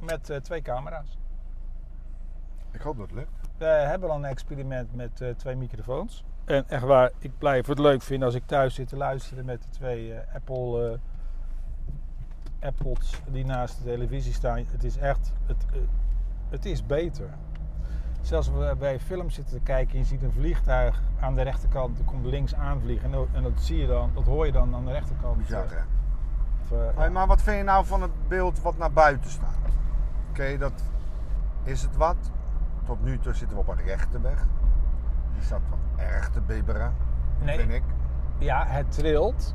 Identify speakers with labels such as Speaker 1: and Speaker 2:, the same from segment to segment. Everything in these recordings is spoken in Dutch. Speaker 1: met eh, twee camera's.
Speaker 2: Ik hoop dat het lukt.
Speaker 1: We hebben al een experiment met eh, twee microfoons. En echt waar, ik blijf het leuk vinden als ik thuis zit te luisteren met de twee eh, Apple eh AirPods die naast de televisie staan. Het is echt, het, eh, het is beter. Zelfs als we bij films zitten te kijken, je ziet een vliegtuig aan de rechterkant, die komt links aanvliegen. En, en dat zie je dan, dat hoor je dan aan de rechterkant.
Speaker 2: Bizar,
Speaker 1: eh,
Speaker 2: hè? Oh,
Speaker 1: of, eh,
Speaker 2: Hoi, maar wat vind je nou van het beeld wat naar buiten staat? Oké, dat is het wat. Tot nu toe zitten we op een rechte weg. Die staat wel erg te bibberen,
Speaker 1: nee,
Speaker 2: vind ik.
Speaker 1: Ja, het trilt.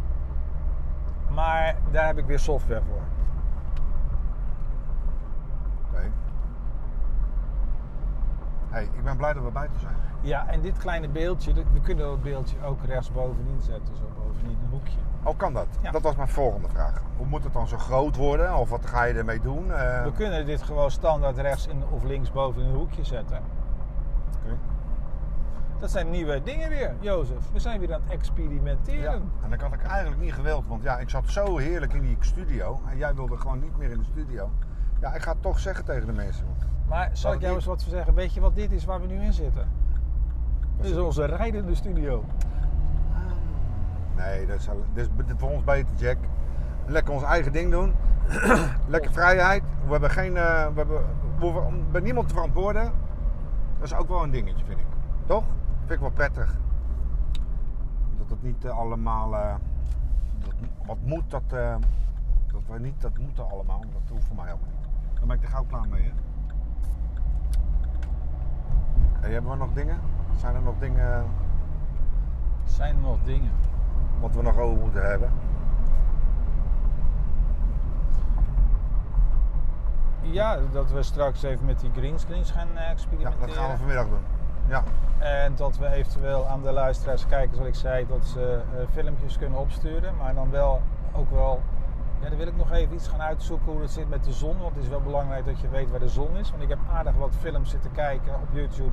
Speaker 1: Maar daar heb ik weer software voor.
Speaker 2: Oké. Hey, ik ben blij dat we buiten zijn.
Speaker 1: Ja, en dit kleine beeldje, dat- we kunnen dat beeldje ook rechtsbovenin zetten, zo bovenin een hoekje.
Speaker 2: Oh, kan dat?
Speaker 1: Ja.
Speaker 2: Dat was mijn volgende vraag. Hoe moet het dan zo groot worden? Of wat ga je ermee doen? Eh,
Speaker 1: We kunnen dit gewoon standaard rechts in, of links boven in een hoekje zetten.
Speaker 2: oké.
Speaker 1: Dat zijn nieuwe dingen weer, Jozef. We zijn weer aan het
Speaker 2: Ja,
Speaker 1: experimenteren.
Speaker 2: en dat had ik eigenlijk niet gewild, want ja, ik zat zo heerlijk in die studio en jij wilde gewoon niet meer in de studio. Ja, ik ga het toch zeggen tegen de mensen.
Speaker 1: Maar zal
Speaker 2: Wat
Speaker 1: ik jou
Speaker 2: nieuw-
Speaker 1: eens wat zeggen? Weet je wat dit is waar we nu in zitten? Dit is onze rijdende studio.
Speaker 2: Nee, dat is, dat is voor ons beter, Jack. Lekker ons eigen ding doen. Lekker vrijheid. We hebben geen. eh, we, hebben, we hoeven om- bij niemand te verantwoorden. Dat is ook wel een dingetje, vind ik. Toch? Vind ik wel prettig. Dat het niet eh, allemaal. eh, dat, wat moet dat. eh, dat we niet dat moeten allemaal. want Dat hoeft voor mij helemaal niet. Dan ben ik er gauw klaar mee, hè? Hey, hebben we nog dingen? Zijn er nog dingen
Speaker 1: Zijn er nog dingen?
Speaker 2: wat we nog over moeten hebben?
Speaker 1: Ja, dat we straks even met die greenscreens gaan eh,
Speaker 2: Ja,
Speaker 1: experimenteren.
Speaker 2: dat gaan we vanmiddag doen. Ja,
Speaker 1: En dat we eventueel aan de luisteraars, kijkers, wat ik zei, dat ze eh, filmpjes kunnen opsturen. Maar dan wel ook wel. Ja, dan wil ik nog even iets gaan uitzoeken hoe het zit met de zon. Want het is wel belangrijk dat je weet waar de zon is. Want ik heb aardig wat films zitten kijken op YouTube.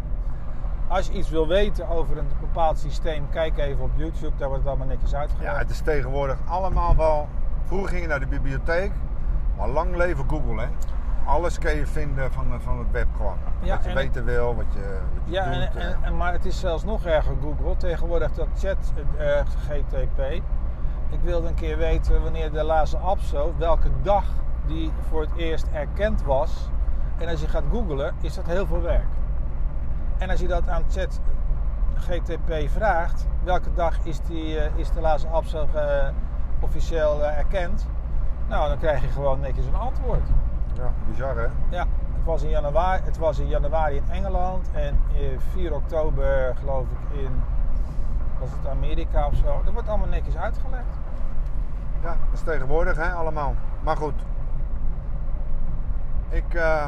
Speaker 1: Als je iets wil weten over een bepaald systeem, kijk even op YouTube. Daar wordt het allemaal netjes
Speaker 2: ja,
Speaker 1: uitgelegd.
Speaker 2: het is tegenwoordig allemaal wel. Vroeger ging je naar de bibliotheek, maar lang leven Google, hè? Alles kun je vinden van, eh, van het web gewoon.
Speaker 1: Ja,
Speaker 2: wat je
Speaker 1: en-
Speaker 2: weten wil, wat je, wat je
Speaker 1: Ja, en,
Speaker 2: doet. eh.
Speaker 1: en, en- maar het is zelfs nog erger, Google. Tegenwoordig dat chat eh, eh, GTP. Ik wilde een keer weten wanneer de laatste APSO, welke dag die voor het eerst erkend was. En als je gaat googlen, is dat heel veel werk. En als je dat aan chat GTP vraagt, welke dag is, die, eh, is de laatste APSO eh, officieel eh, erkend? Nou, dan krijg je gewoon netjes een antwoord.
Speaker 2: ja, bizar, hè?
Speaker 1: Ja, het was in januari, het was in, januari in Engeland en eh, 4 oktober geloof ik in was het Amerika of zo. Dat wordt allemaal netjes uitgelegd.
Speaker 2: Ja, dat is tegenwoordig, hè? Allemaal. Maar goed. Ik, eh,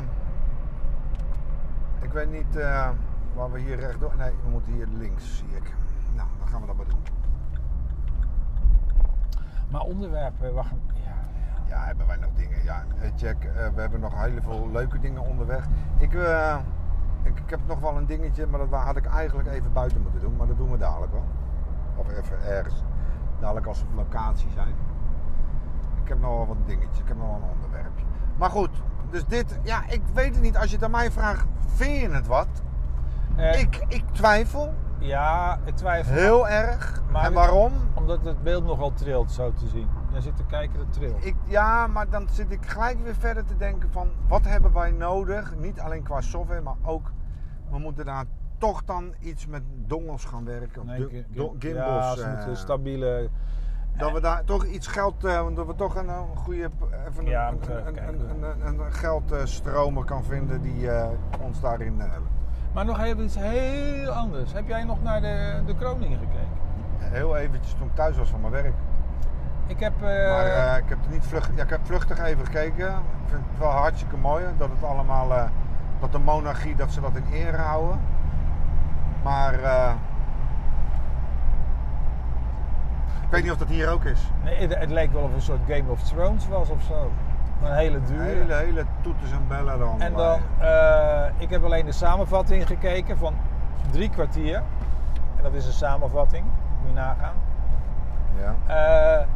Speaker 2: ik weet niet eh, waar we hier rechtdoor... Nee, we moeten hier links, zie ik. Nou, dan gaan we dat maar doen.
Speaker 1: Maar onderwerpen, we gaan, ja,
Speaker 2: Ja, hebben wij nog dingen. Ja, Hey, Jack, eh, we hebben nog heel veel leuke dingen onderweg. Ik, eh, ik, ik heb nog wel een dingetje, maar dat had ik eigenlijk even buiten moeten doen. Maar dat doen we dadelijk wel. Of even ergens. Dadelijk als we op locatie zijn. Ik heb nog wel wat dingetjes. Ik heb nog wel een onderwerpje. Maar goed, dus dit... Ja, ik weet het niet. Als je het aan mij vraagt, vind je het wat?
Speaker 1: Eh,
Speaker 2: Ik, ik twijfel.
Speaker 1: ja, ik twijfel.
Speaker 2: Heel erg.
Speaker 1: Maar-
Speaker 2: en waarom?
Speaker 1: Omdat het beeld nogal trilt zo te zien. Jij zit te kijken, dat trilt.
Speaker 2: Ik, ja, maar dan zit ik gelijk weer verder te denken van wat hebben wij nodig? Niet alleen qua software, maar ook we moeten daar toch dan iets met dongels gaan werken. Of
Speaker 1: Nee,
Speaker 2: du-
Speaker 1: gim- gim-
Speaker 2: do-
Speaker 1: Ja,
Speaker 2: gimbals.
Speaker 1: ze
Speaker 2: eh,
Speaker 1: moeten stabiele.
Speaker 2: dat we daar toch iets geld, eh, want dat we toch een, een goede p- even een,
Speaker 1: Ja,
Speaker 2: een,
Speaker 1: moeten we
Speaker 2: een-
Speaker 1: even
Speaker 2: een-
Speaker 1: kijken.
Speaker 2: een- een- een geldstromer kan vinden die eh, ons daarin eh, helpt.
Speaker 1: Maar nog even iets heel anders. Heb jij nog naar de, de Kroningen gekeken?
Speaker 2: Heel eventjes toen ik thuis was van mijn werk.
Speaker 1: Ik heb. eh,
Speaker 2: Maar eh, ik heb er niet vlug, ja, ik heb vluchtig even gekeken. Ik vind het wel hartstikke mooi dat het allemaal eh, dat de monarchie dat ze dat in ere houden. Maar eh, ik weet niet of dat hier ook is.
Speaker 1: nee, het, het leek wel of een soort Game of Thrones was of zo. Een hele dure.
Speaker 2: Hele, hele toeters en bellen dan.
Speaker 1: En dan, eh, ik heb alleen de samenvatting gekeken van drie kwartier. En dat is een samenvatting, moet je nagaan.
Speaker 2: Ja.
Speaker 1: Eh,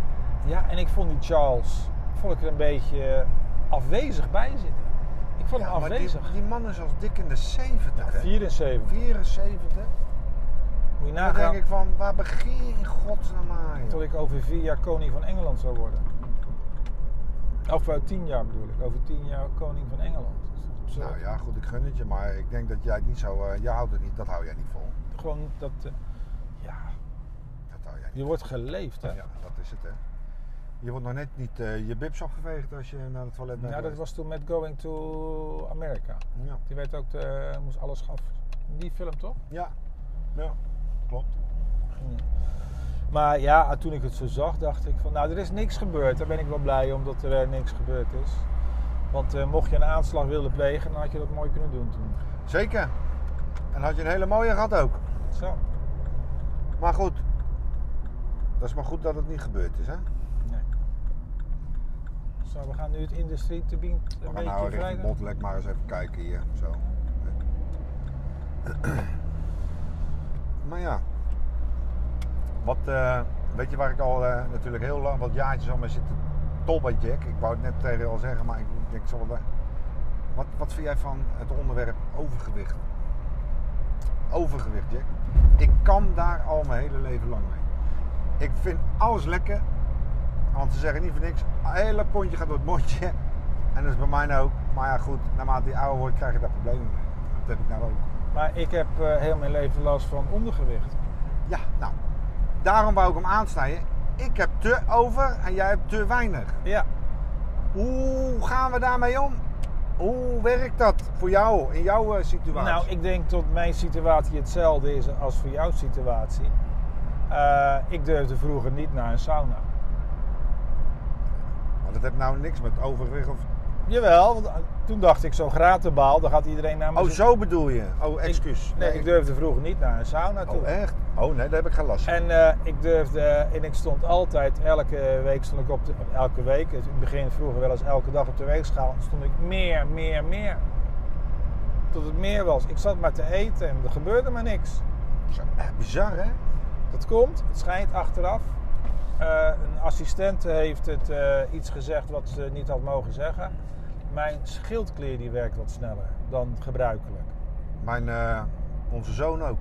Speaker 1: ja, en ik vond die Charles, vond ik er een beetje afwezig bij zitten. van
Speaker 2: Ja,
Speaker 1: hem
Speaker 2: maar die,
Speaker 1: afwezig.
Speaker 2: die man is als dik in de 70. hè?
Speaker 1: 74.
Speaker 2: 74.
Speaker 1: Moet je
Speaker 2: Dan denk
Speaker 1: nagaan
Speaker 2: ik van, waar begin je in godsnaam aan? joh?
Speaker 1: tot ik over vier jaar koning van Engeland zou worden. Of eh, tien jaar bedoel ik. Over tien jaar koning van Engeland. Dus Dat is absurd.
Speaker 2: Nou ja, goed, ik gun het je, maar ik denk dat jij het niet zo... eh, jij houdt het niet, dat hou jij niet vol.
Speaker 1: Gewoon dat... eh, ja,
Speaker 2: Dat hou jij niet
Speaker 1: je wordt geleefd hè.
Speaker 2: vol. Ja, dat is het, hè. Je wordt nog net niet eh, je bibs afgeveegd als je naar het toilet bent
Speaker 1: Nou, dat
Speaker 2: geweest.
Speaker 1: was toen met Going to America.
Speaker 2: Ja.
Speaker 1: Die werd ook, de, moest alles af. Die film toch?
Speaker 2: ja. Ja, klopt.
Speaker 1: Maar ja, toen ik het zo zag, dacht ik van, nou, er is niks gebeurd. Daar ben ik wel blij om dat er eh, niks gebeurd is. Want eh, mocht je een aanslag willen plegen, dan had je dat mooi kunnen doen toen.
Speaker 2: Zeker. En had je een hele mooie gehad ook.
Speaker 1: Zo.
Speaker 2: Maar goed, dat is maar goed dat het niet gebeurd is, hè.
Speaker 1: Nee. Zo, we gaan nu het industrieterrein een
Speaker 2: We gaan
Speaker 1: beetje
Speaker 2: nou richting
Speaker 1: verwijderen.
Speaker 2: Botlek maar eens even kijken hier. Zo. Maar ja. Wat, eh, weet je waar ik al eh, natuurlijk heel lang, wat jaartjes al mee zit te tol bij Jack. Ik wou het net tegen je al zeggen, maar ik denk zo wel. eh, Wat, wat vind jij van het onderwerp overgewicht? Overgewicht, Jack. Ik kan daar al mijn hele leven lang mee. Ik vind alles lekker. Want ze zeggen niet voor niks, een hele pondje gaat door het mondje. En dat is bij mij nou ook. Maar ja, goed, naarmate die ouder wordt, krijg je daar problemen mee. Dat heb ik nou ook.
Speaker 1: Maar ik heb eh, heel mijn leven last van ondergewicht.
Speaker 2: Ja, nou, daarom wou ik hem aansnijden. Ik heb te over en jij hebt te weinig.
Speaker 1: Ja,
Speaker 2: Hoe gaan we daarmee om? Hoe werkt dat voor jou in jouw eh, situatie?
Speaker 1: Nou, ik denk dat mijn situatie hetzelfde is als voor jouw situatie. Eh, ik durfde vroeger niet naar een sauna.
Speaker 2: Maar dat heeft nou niks met overgewicht of.
Speaker 1: Jawel, want eh, toen dacht ik zo'n gratenbaal, dan gaat iedereen naar mijn
Speaker 2: Oh,
Speaker 1: zitten.
Speaker 2: zo bedoel je? Oh, excuus.
Speaker 1: Ik, nee, ik durfde vroeger niet naar een sauna toe.
Speaker 2: Oh, echt? Oh, nee, daar heb ik geen last van.
Speaker 1: En eh, ik durfde, en ik stond altijd elke week, stond ik op de, elke week, in het begin vroeger wel eens elke dag op de weegschaal, stond ik meer, meer, meer. Tot het meer was. Ik zat maar te eten en er gebeurde maar niks.
Speaker 2: Zo, eh, Bizar, hè?
Speaker 1: Dat komt, het schijnt achteraf. Eh, een assistent heeft het, eh, iets gezegd wat ze niet had mogen zeggen. Mijn schildklier die werkt wat sneller dan gebruikelijk.
Speaker 2: Mijn, eh, onze zoon ook.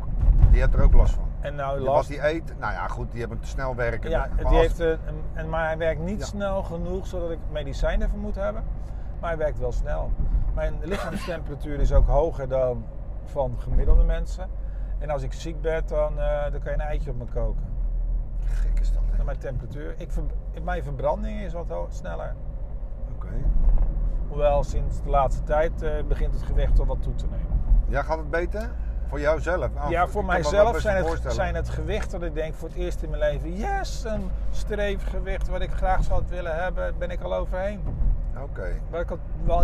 Speaker 2: Die heeft er ook last van.
Speaker 1: En nou
Speaker 2: Wat
Speaker 1: last.
Speaker 2: die eet, nou ja, goed, die hebben een te snel werken.
Speaker 1: Ja,
Speaker 2: maar
Speaker 1: die
Speaker 2: als-
Speaker 1: heeft, eh, een- en, maar hij werkt niet
Speaker 2: Ja.
Speaker 1: snel genoeg zodat ik medicijnen voor moet hebben. Maar hij werkt wel snel. Mijn lichaamstemperatuur is ook hoger dan van gemiddelde mensen. En als ik ziek ben, dan, eh, dan kan je een eitje op me koken.
Speaker 2: Gek is dat, hè?
Speaker 1: En mijn temperatuur. Ik, ver- mijn verbranding is wat ho- sneller.
Speaker 2: Oké.
Speaker 1: Hoewel sinds de laatste tijd eh, begint het gewicht al wat toe te nemen.
Speaker 2: Ja, gaat het beter? Voor jouzelf? Ah,
Speaker 1: ja, voor
Speaker 2: ik kan me dat
Speaker 1: mijzelf
Speaker 2: best
Speaker 1: zijn het,
Speaker 2: voorstellen.
Speaker 1: zijn het gewichten dat ik denk voor het eerst in mijn leven... Yes, een streefgewicht wat ik graag zou willen hebben, ben ik al overheen.
Speaker 2: Oké,
Speaker 1: Waar ik al wel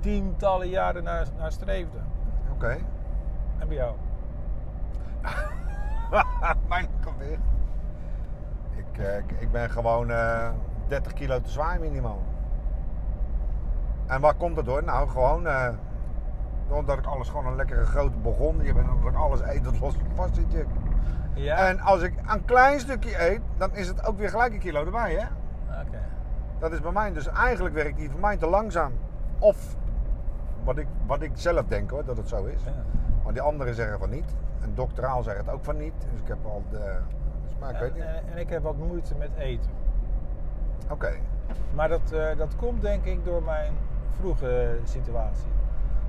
Speaker 1: tientallen jaren naar, naar streefde.
Speaker 2: oké.
Speaker 1: En bij jou?
Speaker 2: Mijn gewicht. Ik, eh, ik, ik ben gewoon eh, 30 kilo te zwaar minimaal. En waar komt dat door? Nou, gewoon eh, omdat ik alles gewoon een lekkere grote begon. Je bent omdat ik alles eet dat los vast zit. Jack.
Speaker 1: Ja?
Speaker 2: En als ik een klein stukje eet, dan is het ook weer gelijk een kilo erbij, hè?
Speaker 1: Oké.
Speaker 2: Dat is bij mij. Dus eigenlijk werkt die voor mij te langzaam. Of wat ik, wat ik zelf denk hoor, dat het zo is.
Speaker 1: Ja.
Speaker 2: Maar die anderen zeggen van niet. En doctoraal zeggen het ook van niet. Dus ik heb al de. Dus maar ik weet
Speaker 1: En,
Speaker 2: niet.
Speaker 1: en, en ik heb wat moeite met eten.
Speaker 2: Oké.
Speaker 1: Maar dat, eh, dat komt denk ik door mijn vroege situatie.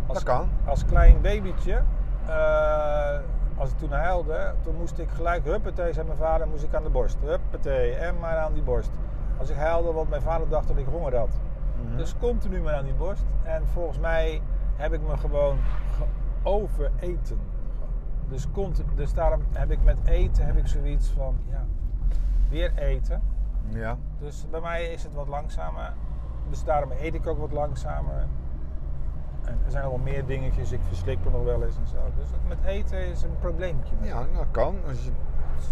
Speaker 2: Dat kan.
Speaker 1: Als klein babytje, eh, als ik toen huilde, toen moest ik gelijk, huppatee, zei mijn vader, moest ik aan de borst. Huppatee, en maar aan die borst. Als ik huilde, want mijn vader dacht dat ik honger had.
Speaker 2: Mhm.
Speaker 1: Dus continu maar aan die borst. En volgens mij heb ik me gewoon ge- overeten. Dus, continu, dus daarom heb ik met eten heb ik zoiets van, ja, weer eten.
Speaker 2: Ja.
Speaker 1: Dus bij mij is het wat langzamer. Dus daarom eet ik ook wat langzamer. En er zijn al wel meer dingetjes. Ik verslik me nog wel eens en zo. Dus dat met eten is een probleempje.
Speaker 2: Ja, dat kan. Als je,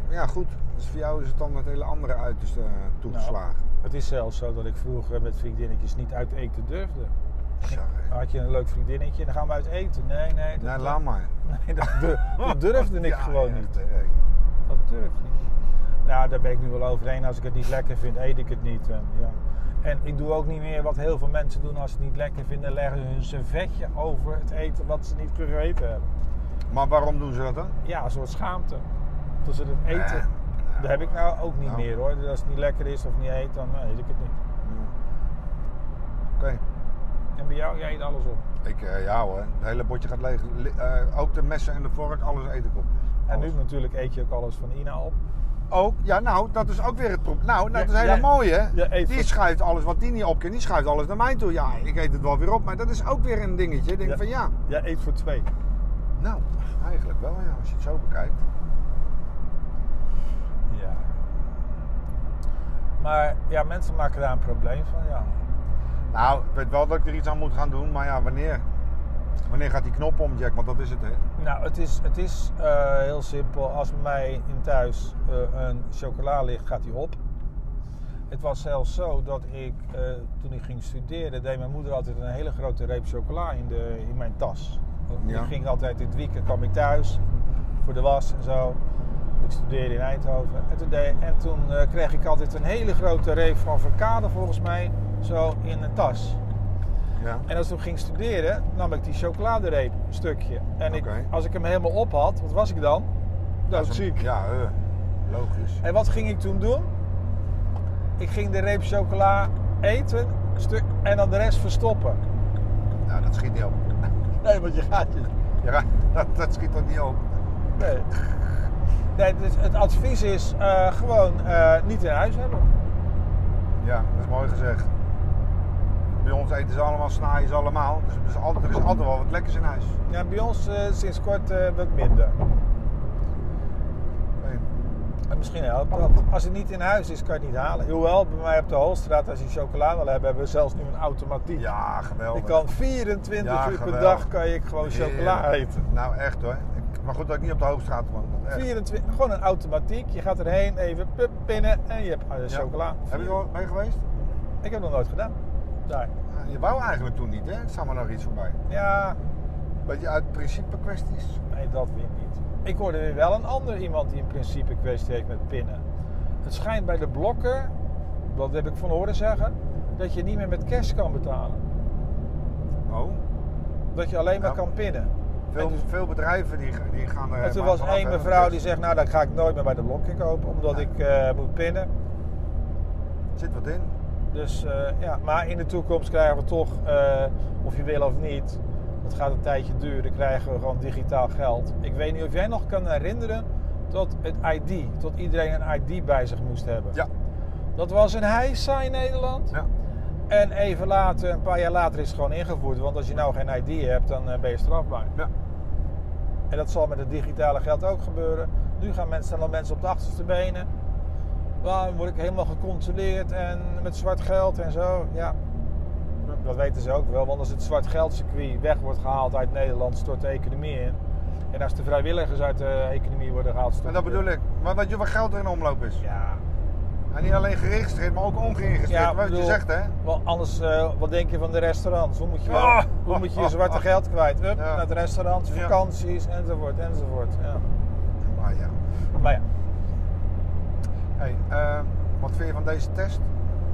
Speaker 2: ja, goed. Dus voor jou is het dan het hele andere uiterste eh, toegeslagen.
Speaker 1: Het is zelfs zo dat ik vroeger met vriendinnetjes niet uit eten durfde. Nou.
Speaker 2: Bizar, hè?
Speaker 1: Dan had je een leuk vriendinnetje en dan gaan we uit eten. Nee, nee. Dat,
Speaker 2: Nee, laat maar.
Speaker 1: nee, dat, dur- Oh. dat durfde ik
Speaker 2: Ja,
Speaker 1: gewoon
Speaker 2: ja,
Speaker 1: niet.
Speaker 2: eh,
Speaker 1: Oh, Dat durf ik niet. Nou, daar ben ik nu wel overheen. Als ik het niet lekker vind, eet ik het niet. En, ja. En ik doe ook niet meer wat heel veel mensen doen als ze het niet lekker vinden, leggen ze hun servetje over het eten wat ze niet gegeten hebben.
Speaker 2: Maar waarom doen ze dat dan?
Speaker 1: Ja, een soort schaamte. Toen ze het eten.
Speaker 2: Eh, nou,
Speaker 1: Dat heb ik Ah. nou ook niet
Speaker 2: Nou.
Speaker 1: meer hoor. Dus als het niet lekker is of niet eet, dan eh, eet ik het niet.
Speaker 2: ja. Oké.
Speaker 1: En bij jou, jij eet alles op.
Speaker 2: Ik, eh, ja hoor, het hele bordje gaat leeg. Li- eh, ook de messen en de vork, alles eet ik op.
Speaker 1: En
Speaker 2: Alles.
Speaker 1: nu natuurlijk eet je ook alles van Ina op.
Speaker 2: Ook, ja nou, dat is ook weer het probleem. Nou, dat
Speaker 1: Ja,
Speaker 2: is helemaal
Speaker 1: jij-
Speaker 2: mooi hè.
Speaker 1: jij eet
Speaker 2: die
Speaker 1: van-
Speaker 2: schuift alles wat die niet op kan, die schuift alles naar mij toe. Ja, ik eet het wel weer op, maar dat is ook weer een dingetje. Ik denk
Speaker 1: Ja.
Speaker 2: van ja,
Speaker 1: Jij eet voor twee.
Speaker 2: nou, eigenlijk wel ja, als je het zo bekijkt.
Speaker 1: Ja. Maar ja, mensen maken daar een probleem van. Ja,
Speaker 2: Nou, ik weet wel dat ik er iets aan moet gaan doen, maar ja, wanneer? Wanneer gaat die knop om, Jack? Want dat is het, hè?
Speaker 1: Nou, het is, het is eh, heel simpel. Als bij mij in thuis eh, een chocola ligt, gaat die op. Het was zelfs zo dat ik, eh, toen ik ging studeren, deed mijn moeder altijd een hele grote reep chocola in, de, in mijn tas. Want
Speaker 2: Ja.
Speaker 1: Ik ging altijd dit weekend, kwam ik thuis voor de was en zo. Ik studeerde in Eindhoven. En toen, deed- en toen eh, kreeg ik altijd een hele grote reep van Verkade, volgens mij, zo in een tas.
Speaker 2: Ja.
Speaker 1: En als ik ging studeren, nam ik die chocoladereep een stukje. En ik,
Speaker 2: Oké.
Speaker 1: als ik hem helemaal op had, wat was ik dan? Doodziek.
Speaker 2: Ja, eh, logisch.
Speaker 1: En wat ging ik toen doen? Ik ging de reep chocola eten een stuk, en dan de rest verstoppen.
Speaker 2: Nou, dat schiet niet op.
Speaker 1: Nee, want je gaat je...
Speaker 2: Ja, dat, dat schiet toch niet op?
Speaker 1: Nee. nee dus het advies is eh, gewoon eh, niet in huis hebben.
Speaker 2: Ja, dat is mooi gezegd. Bij ons eten ze allemaal snaaiers allemaal. Dus er is altijd, er is altijd wel wat lekkers in huis.
Speaker 1: Ja, bij ons eh, sinds kort eh, wat minder.
Speaker 2: Nee.
Speaker 1: En misschien helpt dat. Als het niet in huis is, kan je het niet halen. Hoewel, bij mij op de Holstraat, als je chocola wil hebben, hebben we zelfs nu een automatiek.
Speaker 2: Ja, geweldig.
Speaker 1: Ik kan 24
Speaker 2: Ja,
Speaker 1: uur per
Speaker 2: geweldig.
Speaker 1: dag kan ik gewoon chocola
Speaker 2: Heerlijk.
Speaker 1: eten.
Speaker 2: Nou, echt hoor. Ik- Maar goed dat ik niet op de hoofdstraat woon. Echt.
Speaker 1: 24, gewoon een automatiek. Je gaat erheen, even pup, pinnen en je hebt ah,
Speaker 2: Ja.
Speaker 1: chocola.
Speaker 2: Heb je er al mee geweest?
Speaker 1: Ik heb het nog nooit gedaan. Daar.
Speaker 2: Ja, Je wou eigenlijk toen niet, hè? Er staat maar nog iets voorbij.
Speaker 1: Ja,
Speaker 2: Beetje uit principe kwesties.
Speaker 1: nee, dat weer niet. Ik hoorde weer wel een ander iemand die in principe kwestie heeft met pinnen. Het schijnt bij de blokker, dat heb ik van horen zeggen, dat je niet meer met cash kan betalen.
Speaker 2: Oh.
Speaker 1: Dat je alleen maar
Speaker 2: Ja.
Speaker 1: kan pinnen.
Speaker 2: Veel,
Speaker 1: En dus-
Speaker 2: veel bedrijven die, die gaan... eh,
Speaker 1: En toen
Speaker 2: maar
Speaker 1: was
Speaker 2: vanaf
Speaker 1: één
Speaker 2: hebben
Speaker 1: mevrouw die
Speaker 2: dus
Speaker 1: zegt, nou dan ga ik nooit meer bij de blokker kopen, omdat
Speaker 2: Nee.
Speaker 1: ik eh, moet pinnen.
Speaker 2: Zit wat in.
Speaker 1: Dus eh, ja, maar in de toekomst krijgen we toch, eh, of je wil of niet, dat gaat een tijdje duren, krijgen we gewoon digitaal geld. Ik weet niet of jij nog kan herinneren dat het ID, dat iedereen een ID bij zich moest hebben.
Speaker 2: Ja.
Speaker 1: Dat was een heisa in Nederland.
Speaker 2: Ja.
Speaker 1: En even later, een paar jaar later is het gewoon ingevoerd. Want als je nou geen ID hebt, dan eh, ben je strafbaar.
Speaker 2: Ja.
Speaker 1: En dat zal met het digitale geld ook gebeuren. Nu gaan mensen, staan al mensen op de achterste benen. Waar word ik helemaal gecontroleerd en met zwart geld en zo. Ja, dat weten ze ook wel. Want als het zwart geldcircuit weg wordt gehaald uit Nederland, stort de economie in. En als de vrijwilligers uit de economie worden gehaald, stort
Speaker 2: En dat bedoel ik. Maar weet je wat geld er in omloop is?
Speaker 1: Ja,
Speaker 2: En Nou, niet alleen geregistreerd, maar ook ongeregistreerd.
Speaker 1: Ja,
Speaker 2: wat je
Speaker 1: bedoel-
Speaker 2: zegt, hè?
Speaker 1: wel, anders, eh, wat denk je van de restaurants? Hoe moet je, wel,
Speaker 2: Ah.
Speaker 1: hoe moet je je zwarte geld kwijt? Up,
Speaker 2: Ja.
Speaker 1: naar het restaurant,
Speaker 2: Ja.
Speaker 1: vakanties, enzovoort, enzovoort. Ja.
Speaker 2: Maar ja.
Speaker 1: Maar ja,
Speaker 2: Hey, eh, wat vind je van deze test?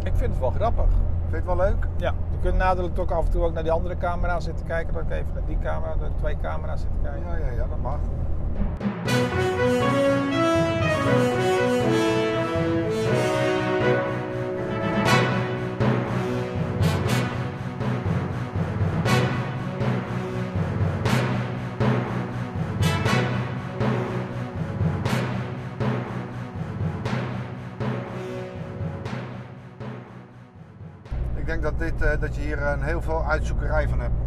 Speaker 1: ik vind het wel grappig.
Speaker 2: Vind je het wel leuk?
Speaker 1: Ja, je kunt nadelijk ook af en toe ook naar die andere camera zitten kijken. Dat ik even naar die camera, de twee camera's zitten kijken.
Speaker 2: Ja, ja, ja, dat mag. Ik denk dat, dit, eh, dat je hier een heel veel uitzoekerij van hebt.